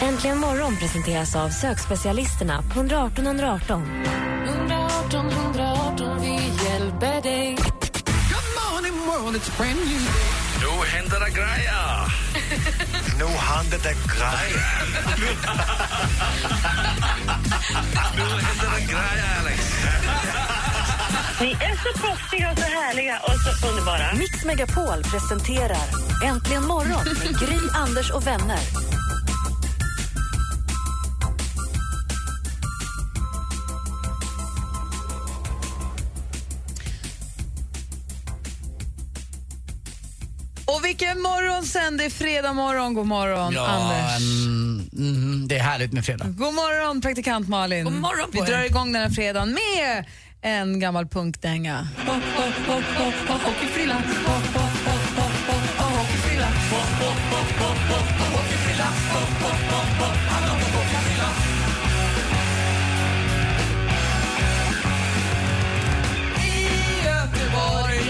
Äntligen morgon presenteras av sökspecialisterna på 118 118. 118 118, vi hjälper dig. Nu händer det grejer! nu händer det grejer! nu händer det grejer, Alex! Ni är så proffsiga och så härliga och så underbara. Mix Megapol presenterar Äntligen morgon med Gry, Anders och vänner. Och vilken morgon sen, det är fredag morgon. God morgon, Anders. mm, mm, det är härligt med fredag. God morgon, praktikant Malin. God morgon Vi drar igång den här fredagen med en gammal punkdänga. I Göteborg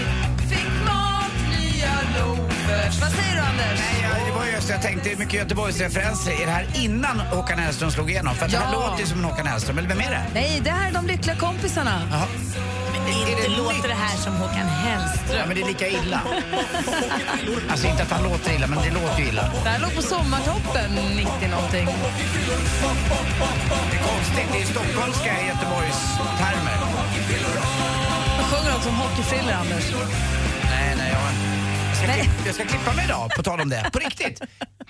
fick mat nya lovers. Vad säger du, Anders? Ja, det var just Jag tänkte mycket Göteborgsreferenser. Är det här innan Håkan Hellström slog igenom? För att det här Ja. låter ju som en Håkan Hellström, eller vem är det? Nej, det här är de lyckliga kompisarna. Inte låter det här som Håkan Hellström. Ja, men det är lika illa. alltså inte att han låter illa, men det låter ju illa. Det här låg på Sommartoppen 90 någonting. Det är konstigt, det är stockholmska i Göteborgstermer. De sjunger också om hockeyfrillor, Anders. Nej, nej, jag... Jag ska, Nej. Klipp, jag ska klippa mig idag, på tal om det. På riktigt.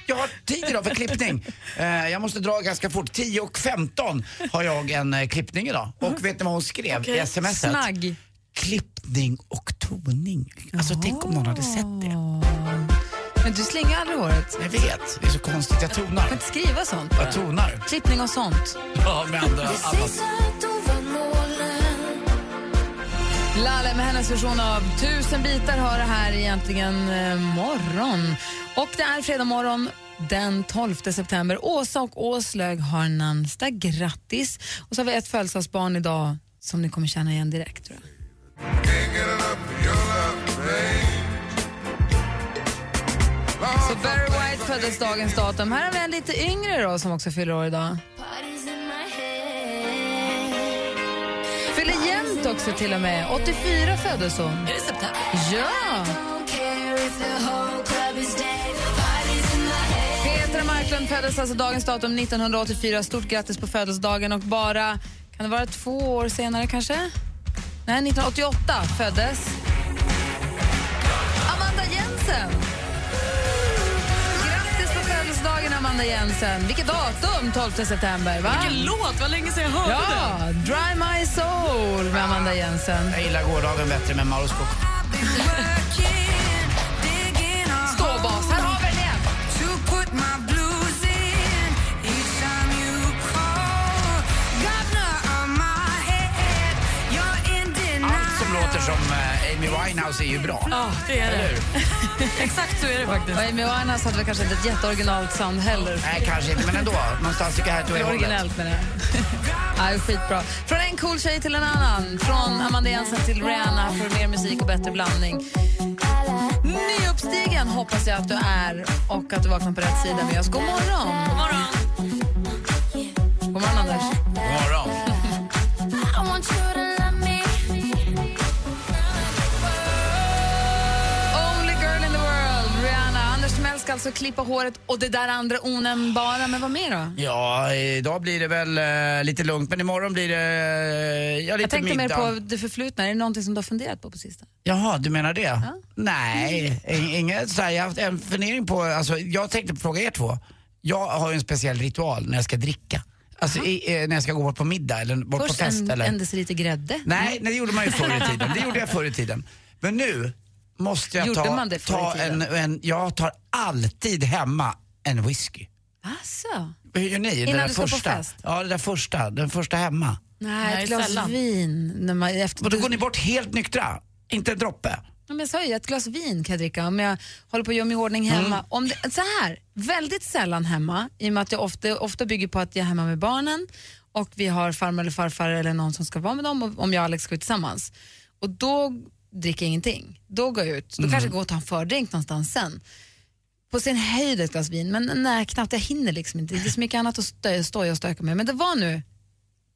Jag har tid idag för klippning. Eh, jag måste dra ganska fort. 10 och 15 har jag en eh, klippning idag. Och vet ni vad hon skrev i sms? -et? Snagg. Klippning och toning. Alltså tänk om någon hade sett det. Men du slingar aldrig håret. Jag vet, det är så konstigt. Jag tonar. Du kan inte skriva sånt. Jag tonar. Klippning och sånt. Ja, med andra. annat. Lalle med hennes version av Tusen bitar har det här egentligen eh, morgon. Och det är fredag morgon den 12 september. Åsa och Åslög har namnsdag. Grattis! Och så har vi ett födelsedagsbarn idag som ni kommer känna igen direkt. Tror jag. Så Barry White föddes dagens datum. Här har vi en lite yngre då som också fyller år idag. Fyller jämnt också till och med. 84 föddes hon. Ja! Petra Marklund föddes alltså dagens datum 1984. Stort grattis på födelsedagen och bara, kan det vara två år senare kanske? Nej, 1988 föddes Amanda Jensen. Grattis på födelsedagen Amanda Jensen. Vilket datum, 12 september va? Vilken låt, vad länge sedan jag hörde ja, Dry My Soul med Amanda Jensen. Jag gillar gårdagen bättre med Mauro Scocco. Ståbas, här har vi den igen. Allt som låter som eh, Amy Winehouse är ju bra. Ja, det är det. Och Amy Winehouse hade väl kanske inte ett jätteoriginalt sound heller. Nej, kanske inte, men ändå. Någonstans tycker jag att du Det är är hållet. originellt med det. Aj, skitbra. Från en cool tjej till en annan. Från Amanda Jensen till Rihanna för mer musik och bättre blandning. Nyuppstigen hoppas jag att du är och att du vaknar på rätt sida med oss. God morgon! God morgon, God morgon Anders. God morgon. Only girl in the world, Rihanna. Anders Timell ska alltså klippa håret och det där andra onämnbara. Men vad mer då? Ja, idag blir det väl eh, lite lugnt, men imorgon blir det eh, ja, lite Jag tänkte middag. mer på det förflutna. Är det någonting som du har funderat på på sistone? Jaha, du menar det? Nej, i- inget så här, jag har haft en fundering på, alltså, jag tänkte fråga er två. Jag har ju en speciell ritual när jag ska dricka. Alltså i, eh, när jag ska gå bort på middag eller bort Först på fest. en, eller... en deciliter grädde. Nej, nej, det gjorde man ju förr i tiden. Det gjorde jag förr i tiden. Men nu måste jag Gjorde ta, man det förr i ta tiden? en, en, jag tar alltid hemma en whisky. Alltså. Hur gör ni? Det Innan där du ska på första? fest? Ja, det där första. Den första hemma. Nej, Nej, ett glas sällan. vin. När man, efter, Och då går ni bort helt nyktra? Inte en droppe? Ja, men jag sa ju, ett glas vin kan jag dricka om jag håller på att göra mig i ordning Mm. hemma. Om det, så här, väldigt sällan hemma, i och med att jag ofta, ofta bygger på att jag är hemma med barnen och vi har farmor eller farfar eller någon som ska vara med dem och, om jag och Alex ska ut tillsammans. Och då dricker jag ingenting. Då går jag ut. Mm. Då kanske jag går och tar en fördrink någonstans sen. På sin höjd ett glas vin, men nej, knappt. Jag hinner liksom inte. Det är så mycket annat att stö, stå och stöka med. Men det var nu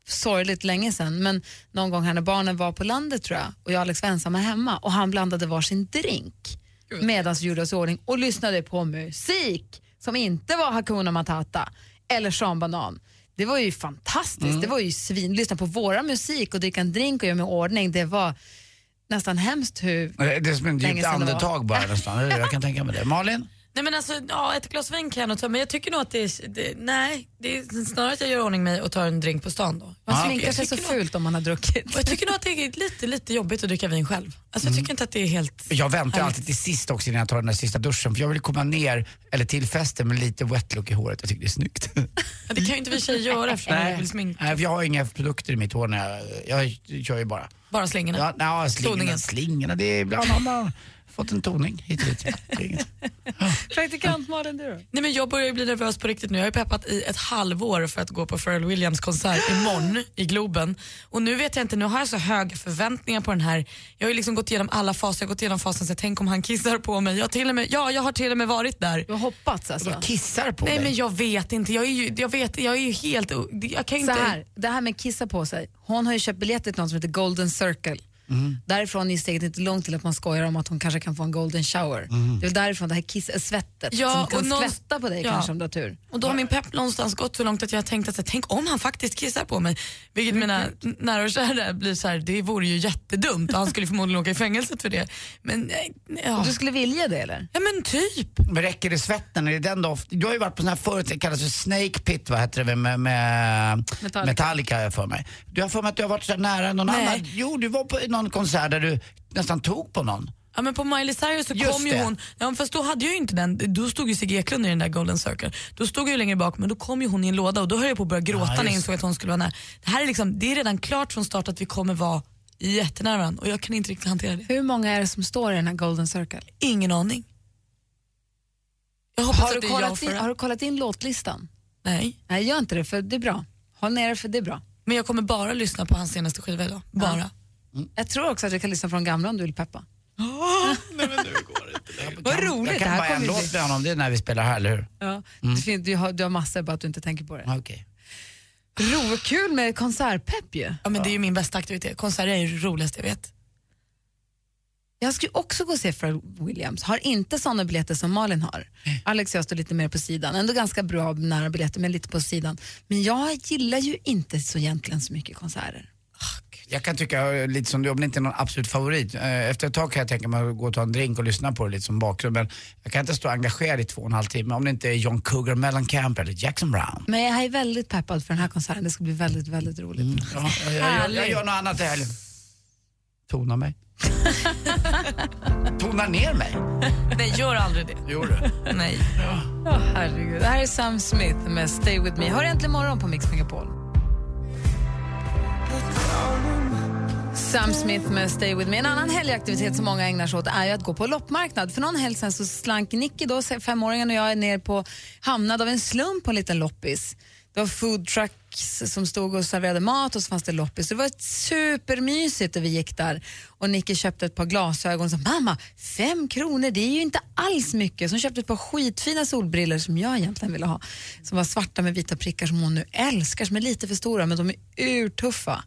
sorgligt länge sedan, men någon gång här när barnen var på landet tror jag och jag och Alex var ensamma hemma och han blandade varsin drink medan vi gjorde oss i ordning och lyssnade på musik som inte var Hakuna Matata eller Sean Banan. Det var ju fantastiskt, Mm. det var ju svin. Lyssna på våra musik och dricka en drink och göra mig i ordning, det var nästan hemskt hur... Nej, Det är som en Länge djupt sedan det var. andetag bara nästan. Eller hur? Jag kan tänka mig det. Malin? Nej men alltså, ja, ett glas vin kan jag nog ta, men jag tycker nog att det är, det, nej, det är snarare att jag gör i ordning mig och tar en drink på stan då. Man Ja, sminkar jag sig så tycker nog- fult om man har druckit. Och jag tycker nog att det är lite, lite jobbigt att dricka vin själv. Alltså jag tycker inte att det är helt... Jag väntar Härligt. alltid till sist också innan jag tar den där sista duschen för jag vill komma ner, eller till festen, med lite wet look i håret. Jag tycker det är snyggt. Ja, Det kan ju inte vi tjejer göra eftersom vi vill sminka. Nej, för jag har inga produkter i mitt hår när jag, jag kör ju bara. Bara slingorna. Ja, nej, slingorna, Toningen. slingorna, det är ibland har man fått en toning hit och dit. Det är inget. Praktikant Malin, du då? Nej men jag börjar ju bli nervös på riktigt nu. Jag har ju peppat i ett halvår för att gå på Pharrell Williams konsert imorgon i Globen. Och nu vet jag inte, nu har jag så höga förväntningar på den här. Jag har ju liksom gått igenom alla faser, jag har gått igenom fasen så jag tänk om han kissar på mig. Jag har till och med, ja, jag har till och med varit där. Du har hoppats alltså? Jag kissar på Nej dig. men jag vet inte, jag är ju, jag vet, jag är ju helt... Jag kan ju Så inte... här, det här med kissa på sig. Hon har ju köpt biljetter till något som heter Golden Circle. Därifrån är steget inte långt till att man skojar om att hon kanske kan få en golden shower. Det är väl därifrån det här kiss, äh, svettet Ja, som kan och någon- skvätta på dig Ja. kanske om du har tur. Och då har min pepp någonstans gått så långt att jag har tänkt att så här, tänk om han faktiskt kissar på mig. Vilket mina n- nära och kära blir så här, det vore ju jättedumt och han skulle förmodligen åka i fängelset för det. Men nej, nej, ja. Du skulle vilja det eller? ja men typ. Men räcker det svetten? Är det den doft? Du har ju varit på sån här förut, det kallas för Snake Pit, vad heter det, väl, med, med Metallica. Metallica. har jag för mig. Du har för mig att du har varit så här nära någon Nej. annan. Jo, du var på någon konsert där du nästan tog på någon. Ja men på Miley Cyrus så Just kom ju det. hon, ja, men fast då hade jag ju inte den, då stod ju Sigge Eklund i den där Golden Circle. Då stod jag ju längre bak men då kom ju hon i en låda och då höll jag på att börja gråta Ja, när jag just insåg att hon skulle vara nära. Det här är liksom, det är redan klart från start att vi kommer vara jättenära varandra och jag kan inte riktigt hantera det. Hur många är det som står i den här Golden Circle? Ingen aning. Jag hoppas Har att du, det är jag kollat för in, det. har du kollat in låtlistan? Nej, Nej, gör inte det för det är bra. Håll ner det för det är bra. men jag kommer bara lyssna på hans senaste skiva idag. Bara. Jag tror också att du kan lyssna på de gamla om du vill peppa. Vad roligt, jag det kan här bara en kommer bli- låt med honom, det är när vi spelar här, eller hur? Ja. Det fin- Du, har, du har massor bara att du inte tänker på det. Ja, Okej. Ro, kul med konsertpepp ju. Ja, men Det är ju min bästa aktivitet. Konserter är ju det roligaste jag vet. Jag skulle också gå och se Pharrell Williams. Har inte såna biljetter som Malin har. Alex och jag står lite mer på sidan. Ändå ganska bra nära biljetter, men lite på sidan. Men jag gillar ju inte så egentligen så mycket konserter. Jag kan tycka eh, lite som du, om det inte är någon absolut favorit. Eh, Efter ett tag kan jag tänka mig att gå och ta en drink och lyssna på det lite som bakgrund. Men jag kan inte stå engagerad i två och en halv timme om det inte är John Cougar Mellencamp eller Jackson Brown. Men jag är väldigt peppad för den här konserten. Det ska bli väldigt, väldigt roligt. Ja, jag, jag, jag gör något annat i helgen. Tona mig. Tona ner mig. Nej, gör aldrig det. Jo du. Nej. Åh, herregud. Det här är Sam Smith med Stay With Me. Hör äntligen morgon på Mix Megapol. Sam Smith med Stay With Me. En annan helgaktivitet som många ägnar sig åt är ju att gå på loppmarknad. För någon helg sen så slank Nicky, då, femåringen, och jag är ner på, hamnade av en slump på en liten loppis. Det var food trucks som stod och serverade mat och så fanns det loppis. Det var supermysigt och vi gick där. Och Nicky köpte ett par glasögon och sa mamma, fem kronor det är ju inte alls mycket. Så hon köpte ett par skitfina solbriller som jag egentligen ville ha. Som var svarta med vita prickar som hon nu älskar, som är lite för stora men de är urtuffa.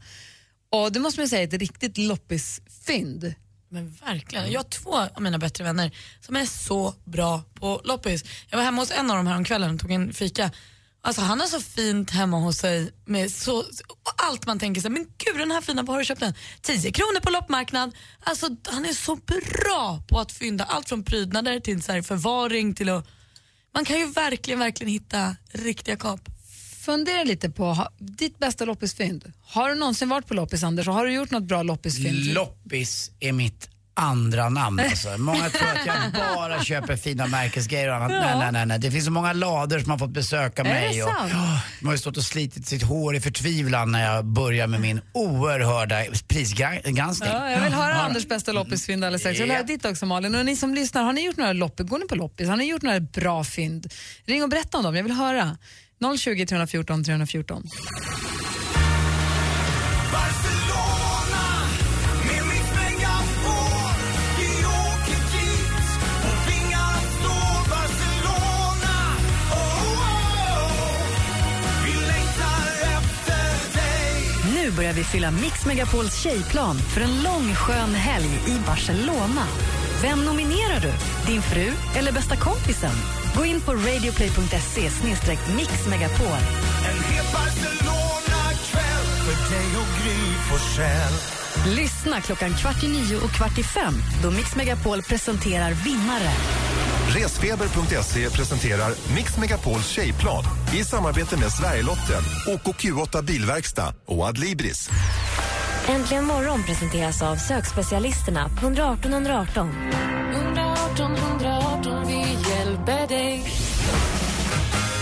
Och det måste man ju säga är ett riktigt loppisfynd. Men Mm. verkligen. Jag har två av mina bättre vänner som är så bra på loppis. Jag var hemma hos en av dem häromkvällen och tog en fika. Alltså han har så fint hemma hos sig med så, och allt man tänker sig. Men gud den här fina, var har du köpt den? 10 kronor på loppmarknad. Alltså han är så bra på att fynda allt från prydnader till så här förvaring till att... Man kan ju verkligen, verkligen hitta riktiga kap. Fundera lite på ha, ditt bästa loppisfynd. Har du någonsin varit på loppis Anders och har du gjort något bra loppisfynd? Loppis är mitt andra namn alltså. Många tror att jag bara köper fina märkesgrejer och annat. Ja. Nej, nej, nej, nej. Det finns så många lador som har fått besöka Är mig. det och, sant? Ja, de har ju stått och slitit sitt hår i förtvivlan när jag börjar med min oerhörda prisgranskning. Ja, jag vill höra Anders bästa loppisfynd alldeles strax. Jag vill höra ditt också Malin. Och ni som lyssnar, har ni gjort några loppis? Går ni på loppis? Har ni gjort några bra fynd? Ring och berätta om dem, jag vill höra. 020 314 314. Oh, Nu börjar vi fylla Mix Megapols tjejplan för en lång skön helg i Barcelona. Vem nominerar du? Din fru eller bästa kompisen? Gå in på radioplay.se mixmegapol. Lyssna klockan kvart i nio och kvart i fem då Mix Megapol presenterar vinnare. Resfeber.se E presenterar Mix Megapols tjejplan i samarbete med Sverigelotten, OKQ8 Bilverkstad och Adlibris. Äntligen morgon presenteras av sökspecialisterna på 118 118. 118 118, vi hjälper dig.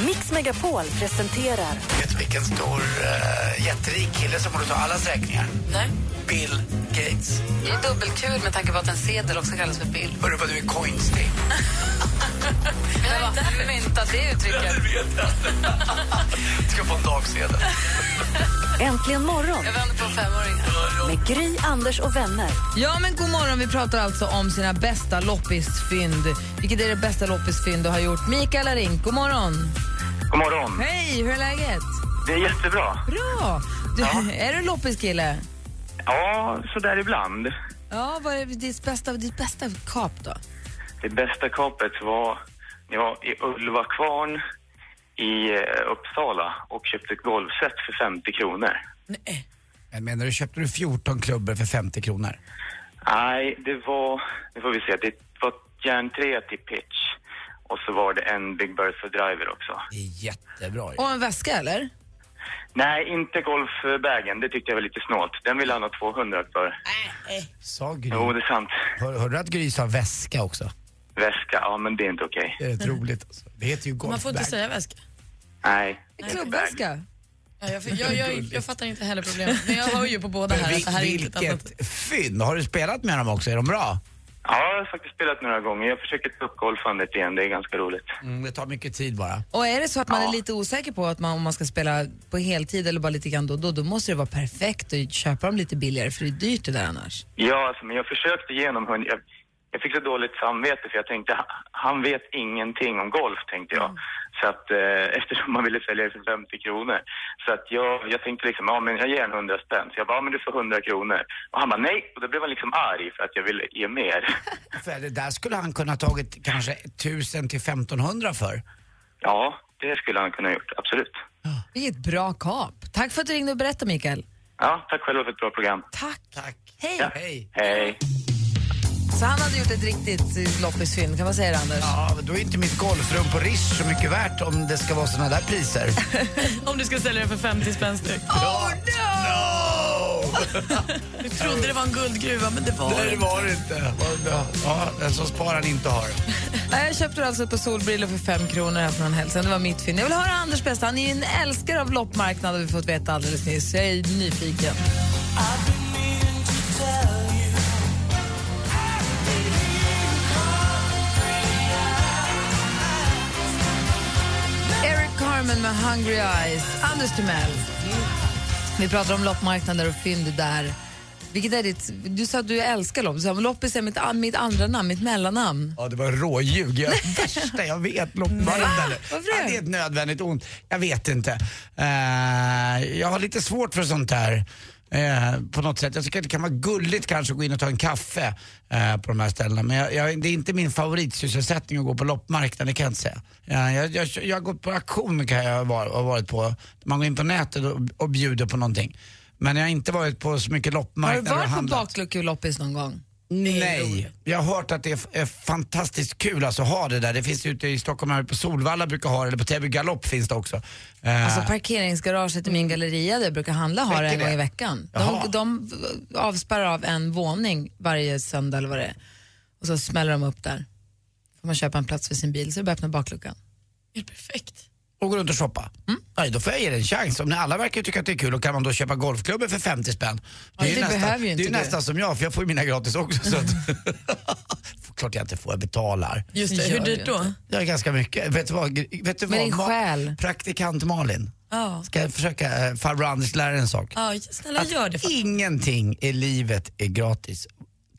Mix Megapol presenterar Vet du vilken stor eh, jätterik kille som borde ta allas räkningar? Nej. Bill Gates. Det är dubbelkul med tanke på att en sedel också kallas för bild. Hörru vad du är coinstig. Jag har inte myntat det uttrycket. Ska få en dagsedel. Äntligen morgon Jag vänder på femåringen. med Gry, Anders och vänner. Ja, men god morgon. Vi pratar alltså om sina bästa loppisfynd. Vilket är det bästa loppisfynd du har gjort? Mikael har ringt. God morgon. God morgon. Hej, hur är läget? Det är jättebra. Bra! Du, Är du en loppiskille? Ja, sådär ibland. Ja, vad är ditt bästa, ditt bästa kap då? Det bästa kapet var när jag var i Ulva kvarn i eh, Uppsala och köpte ett golfset för 50 kronor. Men menar du, köpte du 14 klubbor för 50 kronor? Nej, det var, nu får vi se, det var järnträ till pitch och så var det en Big Bertha driver också. Jättebra Och en väska eller? Nej, inte golfbagen, det tyckte jag var lite snålt. Den ville han ha 200 för. Sa Gry. Jo, det är sant. Hör, hörde du att Gry sa väska också? Väska, ja men det är inte okej. Det är rätt roligt. Alltså. Det heter ju golfbag. Mm. Man får inte säga väska. Nej. En klubbväska? Ja, jag, jag, jag, jag fattar inte heller problemet. Men jag hör ju på båda här att det här är inte ett annat. Vilket fynd! Har du spelat med dem också? Är de bra? Ja, jag har faktiskt spelat några gånger. Jag försöker ta upp golfandet igen, det är ganska roligt. Mm, det tar mycket tid bara. Och är det så att man är lite osäker på att man, om man ska spela på heltid eller bara lite grann då och då, då måste det vara perfekt att köpa dem lite billigare för det är dyrt det där annars. Ja, alltså, men jag försökte genom hund. Jag, jag fick så dåligt samvete för jag tänkte, "Ha- han vet ingenting om golf, tänkte jag. Så att, eh, eftersom man ville sälja det för 50 kronor. Så att jag, jag tänkte liksom, ja men jag ger en 100 spänn. Så jag bara, ja men du får 100 kronor. Och han bara, nej. Och då blev han liksom arg för att jag ville ge mer. För det där skulle han kunna ha tagit kanske 1000 till 1500 för. Ja, det skulle han kunna ha gjort, absolut. Vilket bra kap. Tack för att du ringde och berättade Mikael. Ja, tack själva för ett bra program. Tack. Tack. Hej. Ja. Hej. Hej. Så han hade gjort ett riktigt eh, loppisfynd, kan man säga det Anders? Ja, men då är inte mitt golfrum på Rish så mycket värt om det ska vara såna där priser. Om du ska sälja det för 50 spänn styck. Oh no! Du trodde det var en guldgruva, men det var Nej, det var det inte. Vad bra. Ja, den som sparar inte har. Nej, Jag köpte alltså ett par solbrillor för fem kronor här från hälsan. Det var mitt fynd. Jag vill höra Anders bästa. Han är ju en älskare av loppmarknaden, har vi fått veta alldeles nyss. Jag är nyfiken. Eric Carmen med Hungry Eyes. Anders Timell. Vi pratar om loppmarknader och fynd där. Vilket är ditt, du sa att du älskar lopp. Du sa, men loppis är mitt, an- mitt andra namn, mitt mellannamn. Ja, det var råljug. Jag, värsta jag vet. Loppmarknaden. Ja, det är ett nödvändigt ont. Jag vet inte. Eh, jag har lite svårt för sånt här. eh, på något sätt. Jag tycker att det kan vara gulligt kanske att gå in och ta en kaffe eh, på de här ställena. Men jag, jag, det är inte min favoritsysselsättning att gå på loppmarknaden, det kan jag inte säga. Eh, jag, jag, jag har gått på auktion kan jag ha var- ha varit på. Man går in på nätet och, och bjuder på någonting. Men jag har inte varit på så mycket Har du loppmarknader och varit på handlat. Äh. bakluckeloppis någon gång? Nej, jag har hört att det är f- är fantastiskt kul alltså att ha det där. Det finns ute i Stockholm, här på Solvalla brukar ha det, eller på Täby galopp finns det också. Eh, Alltså parkeringsgaraget i min galleria där jag brukar handla har det en Räcker gång Mm. det? i veckan. Jaha. De, de avspärrar av en våning varje söndag eller vad det är. Och så smäller de upp där. Får man köpa en plats för sin bil så är det bara att öppna bakluckan. och gå runt och shoppa. Mm. Nej, då får jag ge det en chans. Om ni alla verkar tycka att det är kul, och kan man då köpa golfklubbor för 50 spänn? Ja, det nästan, behöver ju inte det är du. nästan som jag, för jag får ju mina gratis också. Så att, klart jag inte får, jag betalar. Just det, hur Gör dyrt jag då? inte. Det är ganska mycket. Vet du vad? Vet du Med vad din Ma- själ. Praktikant Malin. Ja. Ska jag försöka eh, farbror Anders lära dig en sak? Ja, snälla gör det. Ingenting i livet är gratis.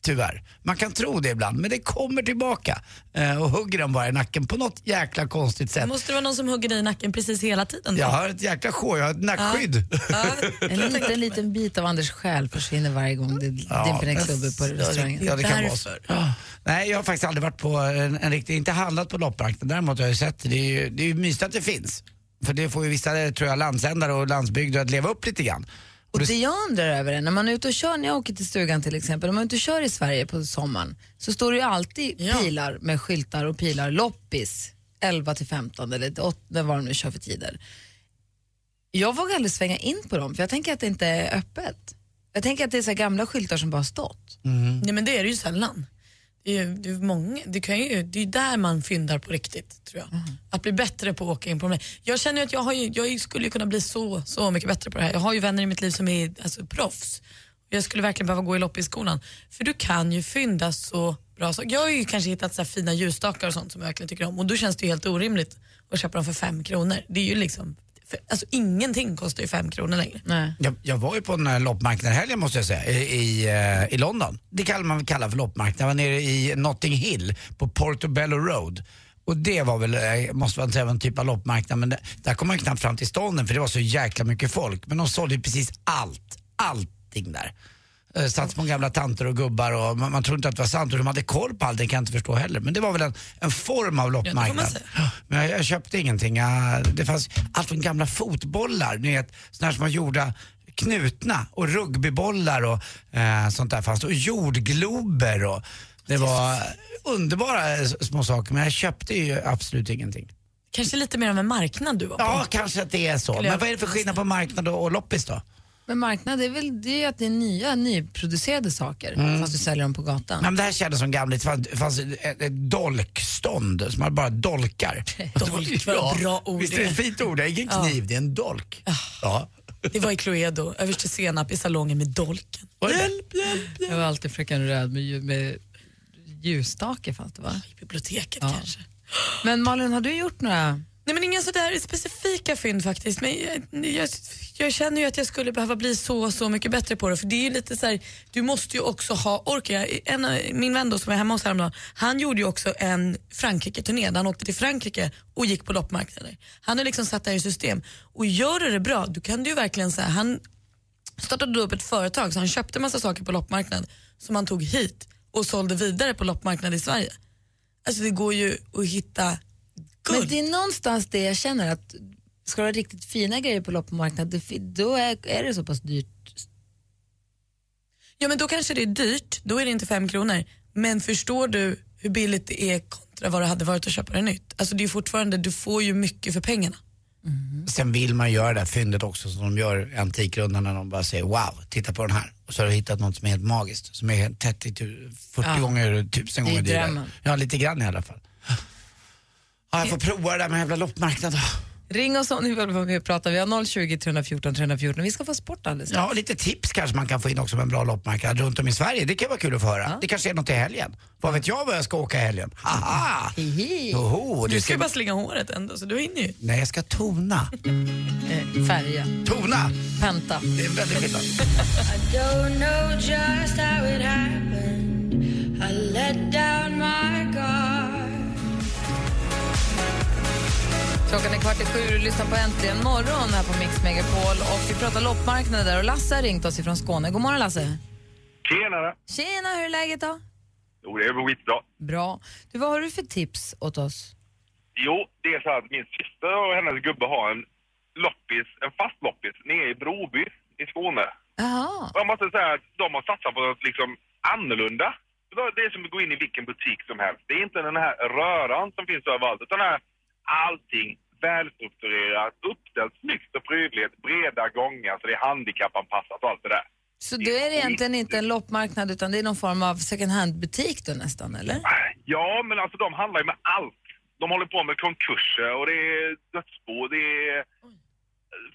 Tyvärr. Man kan tro det ibland, men det kommer tillbaka eh, och hugger en bara i nacken på något jäkla konstigt sätt. Måste det vara någon som hugger dig i nacken precis hela tiden? Jag har ett jäkla sjå, jag har ett nackskydd. En liten, liten bit av Anders själ försvinner varje gång det Ja, dimper en men- klubbe på restaurangen. Ja, det kan vara så. Ja. Nej, jag har faktiskt aldrig varit på en, en riktig, inte handlat på loppmarknaden. Däremot har jag ju sett, det är ju, det är ju mysigt att det finns. För det får ju vissa, eh, tror jag, landsändar och landsbygder att leva upp lite grann. Och det jag undrar över är, när man är ute och kör, när jag åker till stugan till exempel, om man är ute och kör i Sverige på sommaren så står det ju alltid pilar med skyltar och pilar, loppis 11 till 15 eller 8, vad de nu kör för tider. Jag vågar aldrig svänga in på dem för jag tänker att det inte är öppet. Jag tänker att det är så här gamla skyltar som bara har stått. Nej men det är det ju sällan. Det är ju, det är ju många, det, kan ju, det är ju där man fyndar på riktigt tror jag. Att bli bättre på att åka in på mig. Jag känner ju att jag, har ju, jag skulle ju kunna bli så, så mycket bättre på det här. Jag har ju vänner i mitt liv som är alltså, proffs. Jag skulle verkligen behöva gå i loppisskolan. För du kan ju fynda så bra saker. Jag har ju kanske hittat så här fina ljusstakar och sånt som jag verkligen tycker om och då känns det ju helt orimligt att köpa dem för fem kronor. Det är ju liksom, för, alltså ingenting kostar ju fem kronor längre. Jag, jag var ju på en eh, loppmarknad i helgen måste jag säga, i, i, eh, i London. Det kallar man kallar för loppmarknad. Jag var nere i Notting Hill på Portobello Road. Och det var väl, eh, måste man säga, var en typ av loppmarknad. Men det, där kom man ju knappt fram till stånden för det var så jäkla mycket folk. Men de sålde ju precis allt, allting där. Eh, Satt på gamla tanter och gubbar och man, man trodde inte att det var sant. Och de hade koll på allting, kan jag inte förstå heller. Men det var väl en, en form av det får man loppmarknad. säga. Men jag, jag köpte ingenting. Jag, det fanns allt från gamla fotbollar, ni vet, sådana som var gjorda knutna och rugbybollar och eh, sånt där fanns det. Och jordglober och det var underbara eh, s- små saker men jag köpte ju absolut ingenting. Kanske lite mer av en marknad du var på. Ja, kanske att det är så. Men vad är det för skillnad på marknad och, och loppis då? Men marknad är väl det är ju att det är nya, nyproducerade saker Mm. fast du säljer dem på gatan. Men det här kändes som gamla, det fanns, det fanns ett, ett dolkstånd som man bara dolkar. Dolk, vad bra ord Visst är det det är. ett fint ord? Det är ingen Ja. Ah. kniv, det är en dolk. Ja. Det var i Cluedo, överste Senap i salongen med dolken. Hjälp, hjälp, Jag var alltid fröken Röd med, ljus- med ljusstake fanns det va? I biblioteket kanske. Men Malin, har du gjort några? Nej men inga sådär specifika fynd faktiskt. Men jag, jag, jag känner ju att jag skulle behöva bli så, så mycket bättre på det. För det är ju lite så du måste ju också ha orken. Jag- En, av- min vän då som är hemma hos häromdagen, han gjorde ju också en Frankrike-turné där han åkte till Frankrike och gick på loppmarknader. Han har liksom satt det här i system. Och gör du det bra, då kan du ju verkligen säga, han startade då upp ett företag så han köpte massa saker på loppmarknaden som han tog hit och sålde vidare på loppmarknaden i Sverige. Alltså det går ju att hitta Men det är någonstans det jag känner att ska du ha riktigt fina grejer på loppmarknaden, det fi- då är, är det så pass dyrt. Ja men då kanske det är dyrt, då är det inte fem kronor. Men förstår du hur billigt det är kontra vad det hade varit att köpa det nytt? Alltså det är ju fortfarande, du får ju mycket för pengarna. Sen vill man göra det här fyndet också som de gör i Antikrundan när de bara säger wow, titta på den här. Och så har du hittat något som är helt magiskt, som är 30, tu- 40 Ja. gånger, tusen Det är gånger dyrare. drömmen. Ja, lite grann i alla fall. Ja, jag får prova det där med jävla loppmarknaden. Ring oss om ni vill vara med och prata. Vi har 020 314 314. Vi ska få sport alldeles Ja, och lite tips kanske man kan få in också med en bra loppmarknad runt om i Sverige. Det kan vara kul att få höra. Det kanske är något i helgen. Vad vet jag vad jag ska åka i helgen? Haha! Oho, du det ska ju ska... bara slänga håret ändå så Alltså, du hinner ju. Nej, jag ska tona. Eh, färga. Tona! Penta. Det är väldigt skillnad. I don't know just how it happened. I let down my guard. Klockan är kvart i sju och du lyssnar på Äntligen morgon här på Mix Megapol. Och vi pratar loppmarknader och Lasse har ringt oss ifrån Skåne. God morgon Lasse. Tjenare! Tjena, hur är läget då? Jo, det är skitbra. Bra. Du, vad har du för tips åt oss? Jo, det är så här att min syster och hennes gubbe har en loppis, en fast loppis, nere i Broby i Skåne. Jaha. Och jag måste säga att de har satsat på något liksom annorlunda. De då, det är som att gå in i vilken butik som helst. Det är inte den här röran som finns överallt, utan här, allting välstrukturerat, uppställt snyggt och prydligt, breda gångar så det är handikappanpassat och allt det där. Så då är det egentligen inte en loppmarknad utan det är någon form av second hand-butik då nästan, eller? Ja, men alltså de handlar ju med allt. De håller på med konkurser och det är dödsbo, det är...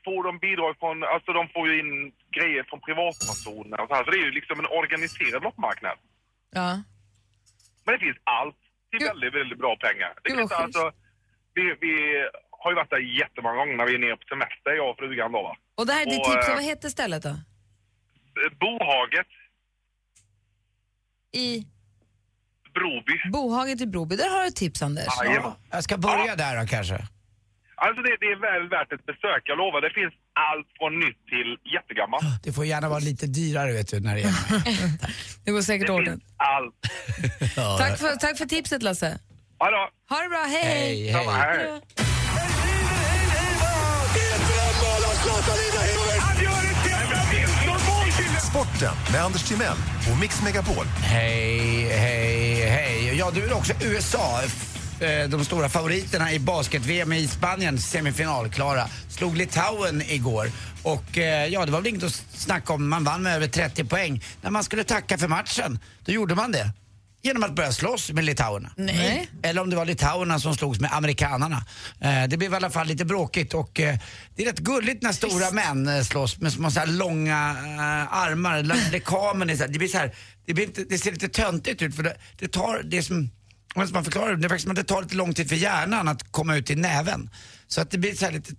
Får de bidrag från, alltså de får ju in grejer från privatpersoner och så här, så det är ju liksom en organiserad loppmarknad. Ja. Men det finns allt till väldigt, väldigt bra pengar. Det Gud, finns vad schysst. alltså, vi, vi har ju varit där jättemånga gånger när vi är nere på semester, jag och frugan då va. Och det här är ditt tips, eh, vad heter stället då? Bohaget, I Broby. Bohaget i Broby, där har du ett tips Anders. Ja, jag ska börja där då kanske. Alltså det, det är väl värt ett besök, jag lovar. Det finns allt från nytt till jättegammalt. Det får gärna vara lite dyrare vet du när det gäller mig. Det går säkert ordentligt. Allt. Ja, Tack för, tack för tipset Lasse. Ha det Ha det bra, hej! Hej, hej. Hej. Sporten med Anders Timell och Mix Megapol. Hej, hej, hej. Ja, du är också USA. F- eh, De stora favoriterna i basket-VM i Spanien, semifinalklara, slog Litauen igår. Och eh, ja, det var väl inget att snacka om. Man vann med över 30 poäng. När man skulle tacka för matchen, då gjorde man det. Genom att börja slåss med litauerna. Nej. Eller om det var litauerna som slogs med amerikanarna. Eh, Det blev i alla fall lite bråkigt och eh, det är rätt gulligt när stora män eh, slåss med små så här långa eh, armar. La- Lekamen är så här, det blir så här, det, blir inte, det ser lite töntigt ut för det, det tar, det är som, om man förklarar det, det är faktiskt som att det tar lite lång tid för hjärnan att komma ut i näven. Så att det blir så här lite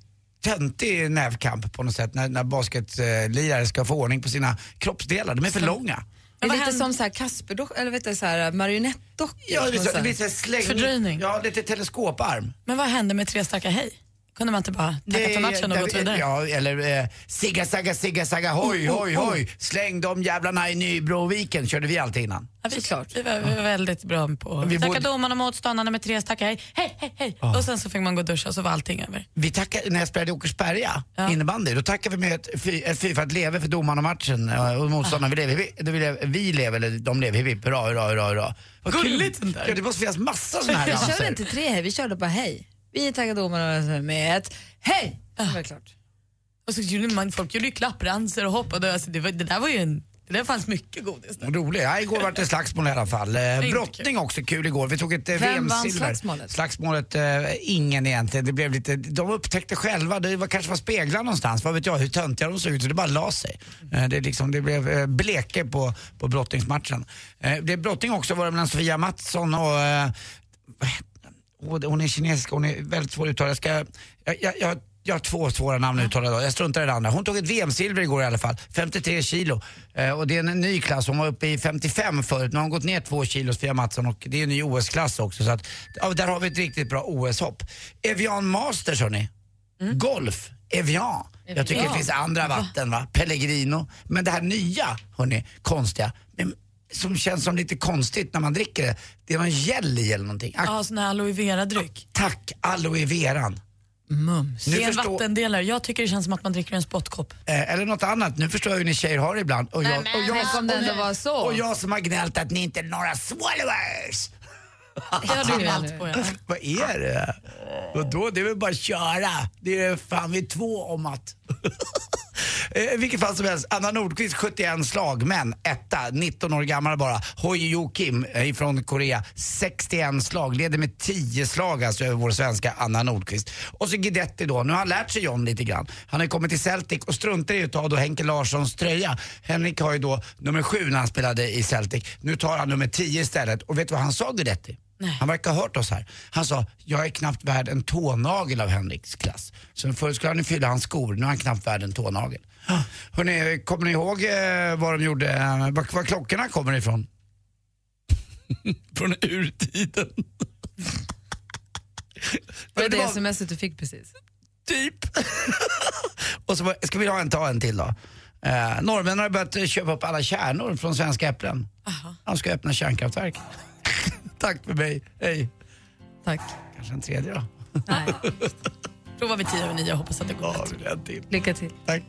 töntig nävkamp på något sätt när, när basketlirare ska få ordning på sina kroppsdelar. De är för långa. Det är lite som så här Kasper, dock- eller vet du, så eh, här marionettdockor. Ja, det blir så, det blir så här släng... Fördröjning. Ja, lite teleskoparm. Men vad hände med tre starka hej? Kunde man inte bara tacka för matchen och där- gått vidare? Ja, eller eh, sigga, sagga, sigga, sagga, hoj, Oh, oh, hoj, oh. hoj. Släng de jävlarna i Nybroviken, körde vi alltid innan. Ja, vi, vi var, vi var väldigt bra på Vi att tacka borde- domarna och motståndarna med tre stackar hej, hej, hej, hej. Ja. Och sen så fick man gå och duscha och så var allting över. Vi tackade, när jag spelade i Åkersberga innebandy, då tackade vi med ett, fy, ett fyrfalt leve för domaren och matchen eh, och motståndarna. Vi lever, vi, vi lever, vi lever, eller de lever, hipp, hipp, hurra, hurra, hurra, hurra. Vad Gulligt, den där. Ja, det måste finnas massa såna här Vi körde danser. inte tre hej, vi körde bara hej. Vi tackade domarna med ett hej! Det var klart. Och så gjorde man, folk gjorde ju klappranser och hoppade. Alltså, det, var, det där var ju en, det där fanns mycket godis. Vad Rolig. Ja, igår var det slagsmål i alla fall. Eh, inte Brottning också kul igår. Vi tog ett eh, Vem vann VM-silver. slagsmålet? Slagsmålet, eh, ingen egentligen. Det blev lite, de upptäckte själva, det var, kanske var speglar någonstans, vad vet jag, hur töntiga de såg ut. Så det bara la sig. Eh, det, är liksom, det blev eh, bleke på, på brottningsmatchen. Eh, det är brottning också var det mellan Sofia Mattsson och eh, och det- Hon är kinesisk, hon är väldigt svår att uttala. Jag, ska, jag, jag, jag, jag har två svåra namn att uttala idag, jag struntar i det andra. Hon tog ett VM-silver igår i alla fall, 53 kilo. Eh, och det är en ny klass, hon var uppe i 55 förut. Nu har hon gått ner två kilo, Sofia Mattsson, och det är en ny OS-klass också. Så att, ja, där har vi ett riktigt bra OS-hopp. Evian Masters hörni, golf, Evian. Jag tycker det Evian. finns andra vatten va, Pellegrino. Men det här nya, hörni, konstiga. Men, som känns som lite konstigt när man dricker det. Det är någon gel i eller någonting. Ja, sån här aloe vera-dryck. Tack aloe veran. Mums. Nu Det är en förstår- vattendelare. Jag tycker det känns som att man dricker en spottkopp. Eh, eller något annat. Nu förstår jag hur ni tjejer har det ibland. Och jag, Nej, och men jag, tänk om det ändå och- var så. Och jag som har gnällt att ni inte är några swallowers. Det har du allt på ja. Vad är det? Vadå? Det är väl bara att köra. Det är fan vi två om att. eh, vilket fall som helst, Anna Nordqvist 71 slag, men etta, 19 år gammal bara. Hoi Jo Kim eh, från Korea, 61 slag, leder med 10 slag alltså över vår svenska Anna Nordqvist. Och så Guidetti då, nu har han lärt sig John lite grann. Han har ju kommit till Celtic och struntar i att ta då Henke Larssons tröja. Henrik har ju då nummer 7 när han spelade i Celtic. Nu tar han nummer 10 istället och vet du vad han sa Guidetti? Han verkar ha hört oss här. Han sa, jag är knappt värd en tånagel av Henriks klass. Så förut skulle han ju fylla hans skor, nu är han knappt värd en tånagel. Hörrni, kommer ni ihåg eh, vad de gjorde, eh, var, var klockorna kommer ifrån? Från urtiden. Det var det det var- smset du fick precis. Typ. Och så var- ska vi ha en, ta en till då. Eh, norrmännen har börjat eh, köpa upp alla kärnor från svenska äpplen. De ska öppna kärnkraftverk. Tack för mig, hej. Tack. Kanske en tredje då. Prova vid tio över nio och hoppas att det går rätt. till. Lycka till. Tack.